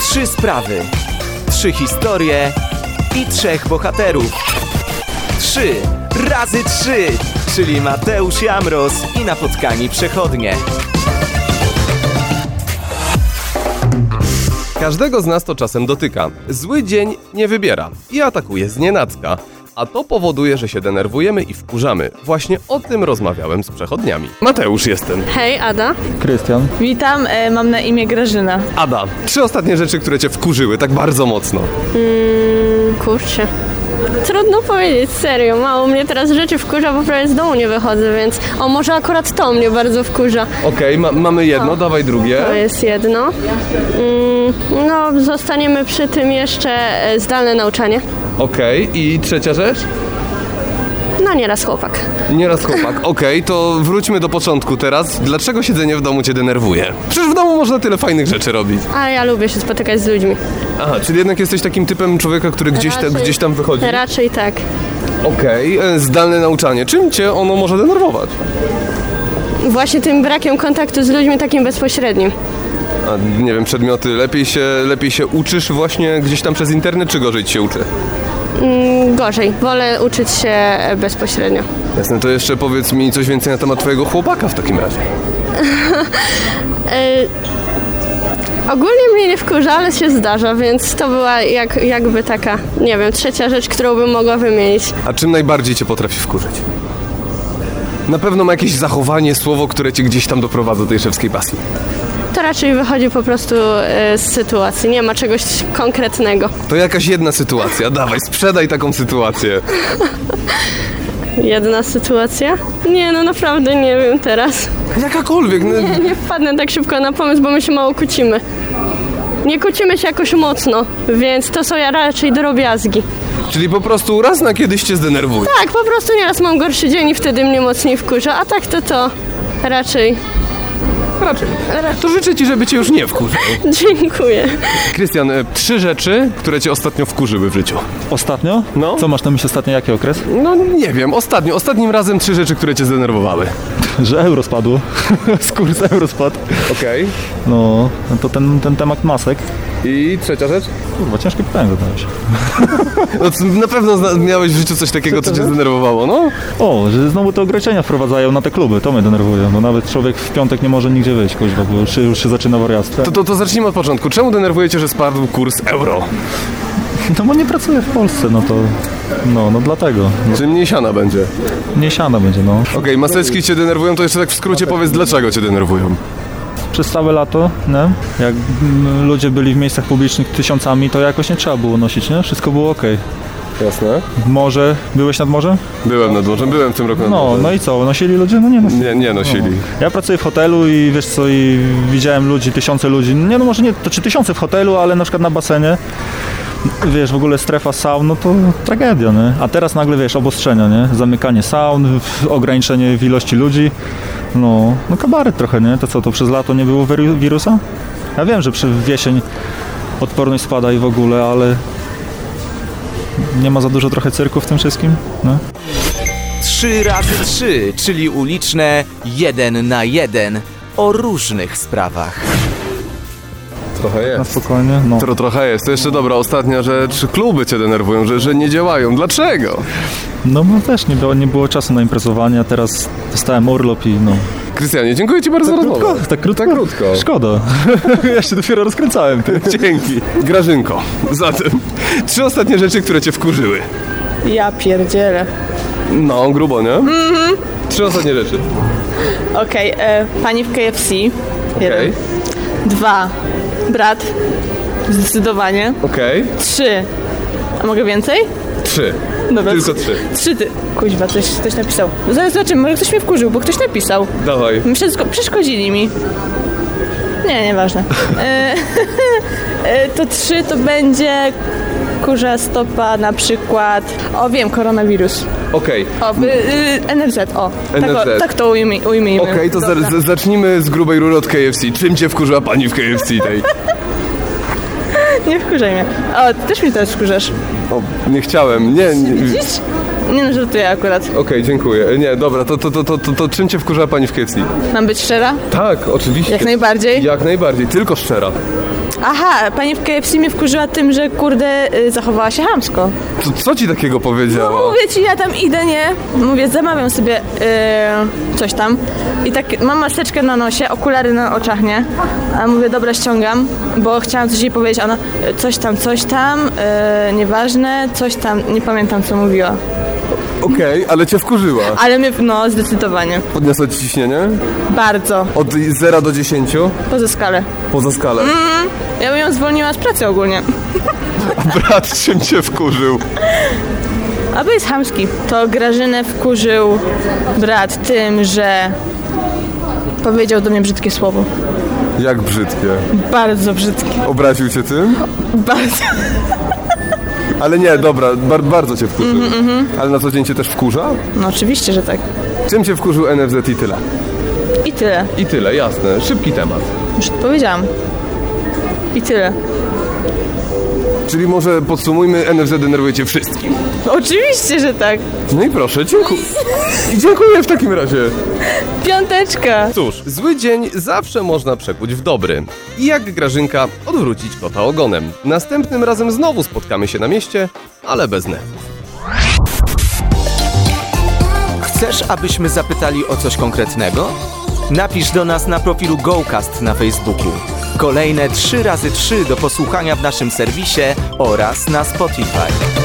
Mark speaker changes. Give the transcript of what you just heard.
Speaker 1: Trzy sprawy, trzy historie i trzech bohaterów. Trzy razy trzy, czyli Mateusz Jamros i napotkani przechodnie.
Speaker 2: Każdego z nas to czasem dotyka. Zły dzień nie wybiera i atakuje znienacka. A to powoduje, że się denerwujemy i wkurzamy. Właśnie o tym rozmawiałem z przechodniami. Mateusz jestem.
Speaker 3: Hej, Ada.
Speaker 4: Krystian.
Speaker 5: Witam, e, mam na imię Grażyna.
Speaker 2: Ada. Trzy ostatnie rzeczy, które cię wkurzyły tak bardzo mocno.
Speaker 3: Kurczę. Trudno powiedzieć, serio. Mało mnie teraz rzeczy wkurza, bo prawie z domu nie wychodzę, więc... O, może akurat to mnie bardzo wkurza.
Speaker 2: Okej, ma- mamy jedno, dawaj drugie.
Speaker 3: To jest jedno. Mm, no, zostaniemy przy tym jeszcze e, zdalne nauczanie.
Speaker 2: Okej, i trzecia rzecz?
Speaker 3: No, nieraz chłopak.
Speaker 2: Nieraz chłopak. Okej, to wróćmy do początku teraz. Dlaczego siedzenie w domu cię denerwuje? Przecież w domu można tyle fajnych rzeczy robić.
Speaker 3: Ale ja lubię się spotykać z ludźmi.
Speaker 2: Aha, czyli jednak jesteś takim typem człowieka, który gdzieś, te,
Speaker 3: Raczej-
Speaker 2: gdzieś tam wychodzi.
Speaker 3: Raczej tak.
Speaker 2: Okej, e, zdalne nauczanie. Czym cię ono może denerwować?
Speaker 3: Właśnie tym brakiem kontaktu z ludźmi takim bezpośrednim.
Speaker 2: A, nie wiem, przedmioty. Lepiej się, lepiej się uczysz właśnie gdzieś tam przez internet, czy gorzej ci się uczy?
Speaker 3: Mm, gorzej. Wolę uczyć się e, bezpośrednio.
Speaker 2: Jasne, to jeszcze powiedz mi coś więcej na temat twojego chłopaka w takim razie.
Speaker 3: Ogólnie mnie nie wkurza, ale się zdarza, więc to była jak, jakby taka, nie wiem, trzecia rzecz, którą bym mogła wymienić.
Speaker 2: A czym najbardziej cię potrafi wkurzyć? Na pewno ma jakieś zachowanie, słowo, które cię gdzieś tam doprowadza do tej szewskiej pasji.
Speaker 3: To raczej wychodzi po prostu e, z sytuacji, nie ma czegoś konkretnego.
Speaker 2: To jakaś jedna sytuacja. Dawaj, sprzedaj taką sytuację.
Speaker 3: Jedna sytuacja? Nie, no naprawdę nie wiem teraz.
Speaker 2: Jakakolwiek. No,
Speaker 3: Nie, nie wpadnę tak szybko na pomysł, bo my się mało kłócimy. Nie kłócimy się jakoś mocno, więc to są ja raczej drobiazgi.
Speaker 2: czyli po prostu raz na kiedyś cię zdenerwuje.
Speaker 3: Tak, po prostu nieraz mam gorszy dzień i wtedy mnie mocniej wkurza, a tak to to raczej.
Speaker 2: Raczej. To życzę ci, żeby cię już nie wkurzał.
Speaker 3: Dziękuję.
Speaker 2: Krystian, e, trzy rzeczy, które cię ostatnio wkurzyły w życiu.
Speaker 4: Ostatnio?
Speaker 2: No.
Speaker 4: Co masz na myśli ostatnio? Jaki okres?
Speaker 2: No nie wiem, ostatnio, ostatnim razem trzy rzeczy, które cię zdenerwowały.
Speaker 4: Że euro spadło. Skurs euro spadł.
Speaker 2: Okej.
Speaker 4: No, no to ten, ten temat masek.
Speaker 2: I trzecia rzecz?
Speaker 4: Kurwa, ciężkie pytanie zadałeś.
Speaker 2: No, c- na pewno zna- miałeś w życiu coś takiego, co cię zdenerwowało, no?
Speaker 4: O, że znowu te ograniczenia wprowadzają na te kluby, to mnie denerwuje. No nawet człowiek w piątek nie może nigdzie wyjść, kuźwa, bo już, już się zaczyna wariactwo.
Speaker 2: To, to, to zacznijmy od początku. Czemu denerwujecie, że spadł kurs euro?
Speaker 4: No bo nie pracuję w Polsce, no to... No, no dlatego.
Speaker 2: Czy mniej siana będzie? Okej,
Speaker 4: Nie siada będzie, no.
Speaker 2: maseczki cię denerwują, to jeszcze tak w skrócie powiedz, dlaczego cię denerwują.
Speaker 4: Przez całe lato, nie? Jak mm, ludzie byli w miejscach publicznych tysiącami, to jakoś nie trzeba było nosić, nie? Wszystko było okej.
Speaker 2: Jasne.
Speaker 4: Morze, byłeś nad morzem?
Speaker 2: Byłem nad morzem, byłem w tym roku nad
Speaker 4: No,
Speaker 2: morzem.
Speaker 4: no i co? Nosili ludzie? No nie nosili.
Speaker 2: Nie, nie nosili.
Speaker 4: Ja pracuję w hotelu i wiesz co, i widziałem ludzi, tysiące ludzi. Nie no może nie, to czy tysiące w hotelu, ale na przykład na basenie. Wiesz, w ogóle strefa saun, no to tragedia, nie? A teraz nagle, wiesz, obostrzenia, nie? Zamykanie saun, w- ograniczenie w ilości ludzi. No, no kabaret trochę, nie? To co, to przez lato nie było wiru- wirusa? Ja wiem, że przy w jesień odporność spada i w ogóle, ale... Nie ma za dużo trochę cyrku w tym wszystkim, no?
Speaker 1: Trzy razy trzy, czyli uliczne jeden na jeden o różnych sprawach.
Speaker 4: No.
Speaker 2: Trochę
Speaker 4: Na
Speaker 2: jest.
Speaker 4: spokojnie, no.
Speaker 2: Tro, trochę jest. To jeszcze dobra, ostatnia rzecz. Kluby cię denerwują, że, że nie działają. Dlaczego?
Speaker 4: No bo też nie było, nie było czasu na imprezowanie, a teraz dostałem urlop i no.
Speaker 2: Krystianie, dziękuję ci bardzo za rozmowę.
Speaker 4: tak krótko?
Speaker 2: Tak krótko.
Speaker 4: Szkoda. ja się dopiero rozkręcałem. Ty.
Speaker 2: Dzięki. Grażynko, zatem trzy ostatnie rzeczy, które cię wkurzyły.
Speaker 5: Ja pierdzielę.
Speaker 2: No, grubo, nie? Mhm. Trzy ostatnie rzeczy.
Speaker 5: Okej, e, pani w KFC.
Speaker 2: Okej.
Speaker 5: Jeden. Dwa. Brat. Zdecydowanie.
Speaker 2: Okej.
Speaker 5: Trzy. A mogę więcej?
Speaker 2: Trzy.
Speaker 5: Dobra.
Speaker 2: Tylko trzy.
Speaker 5: Trzy ty. Kuźwa, ktoś, ktoś napisał. Zaraz zobaczymy, może ktoś mnie wkurzył, bo ktoś napisał.
Speaker 2: Dawaj.
Speaker 5: Wszystko, przeszkodzili mi. Nie, nieważne. E, e, to trzy to będzie kurza stopa na przykład. O wiem, koronawirus.
Speaker 2: Okej.
Speaker 5: O, y, y, NFZ, o. Tak,
Speaker 2: NFZ.
Speaker 5: o, tak to ujmij, ujmijmy.
Speaker 2: Okej, to za, za, zacznijmy z grubej rury od KFC. Czym cię wkurzyła pani w KFC tej?
Speaker 5: Nie wkurzaj mnie. O, ty też mnie teraz wkurzasz.
Speaker 2: O, nie chciałem. Nie, nie.
Speaker 5: Widzisz? Nie no, żartuję akurat.
Speaker 2: Okej, dziękuję. Nie, dobra, to, to, to, to, to, to czym cię wkurzyła pani w KFC?
Speaker 5: Mam być szczera?
Speaker 2: Tak, oczywiście.
Speaker 5: Jak najbardziej.
Speaker 2: Jak najbardziej, tylko szczera.
Speaker 5: Aha, pani w KFC mnie wkurzyła tym, że kurde y, zachowała się hamsko.
Speaker 2: Co, co ci takiego powiedziała?
Speaker 5: No, Mówię ci, ja tam idę, nie? Mówię, zamawiam sobie y, coś tam i tak mam maseczkę na nosie, okulary na oczach, nie? A mówię, dobra, ściągam, bo chciałam coś jej powiedzieć, a ona y, coś tam, coś tam, y, nieważne, coś tam, nie pamiętam co mówiła.
Speaker 2: Okej, ale cię wkurzyła.
Speaker 5: Ale mnie, no, zdecydowanie.
Speaker 2: Podniosła ci ciśnienie?
Speaker 5: Bardzo.
Speaker 2: Od 0 do 10?
Speaker 5: Poza skalę.
Speaker 2: Poza skalę.
Speaker 5: Ja bym ją zwolniła z pracy ogólnie.
Speaker 2: Brat czym cię wkurzył?
Speaker 5: Aby jest chamski. To Grażynę wkurzył brat tym, że powiedział do mnie brzydkie słowo.
Speaker 2: Jak brzydkie.
Speaker 5: Bardzo brzydkie.
Speaker 2: Obraził cię tym?
Speaker 5: Bardzo.
Speaker 2: Ale nie, dobra, bar- bardzo cię wkurzył. Ale na co dzień cię też wkurza?
Speaker 5: No oczywiście, że tak.
Speaker 2: Czym cię wkurzył NFZ i tyle?
Speaker 5: I tyle.
Speaker 2: I tyle, jasne. Szybki temat.
Speaker 5: Już powiedziałam. I tyle.
Speaker 2: Czyli może podsumujmy, NFZ denerwuje cię wszystkim.
Speaker 5: Oczywiście, że tak.
Speaker 2: No i proszę, dziękuję. I dziękuję w takim razie.
Speaker 5: Piąteczka.
Speaker 2: Cóż, zły dzień zawsze można przekuć w dobry. I jak Grażynka odwrócić kota ogonem. Następnym razem znowu spotkamy się na mieście, ale bez nerwów.
Speaker 1: Chcesz, abyśmy zapytali o coś konkretnego? Napisz do nas na profilu GoCast na Facebooku. Kolejne 3 razy 3 do posłuchania w naszym serwisie oraz na Spotify.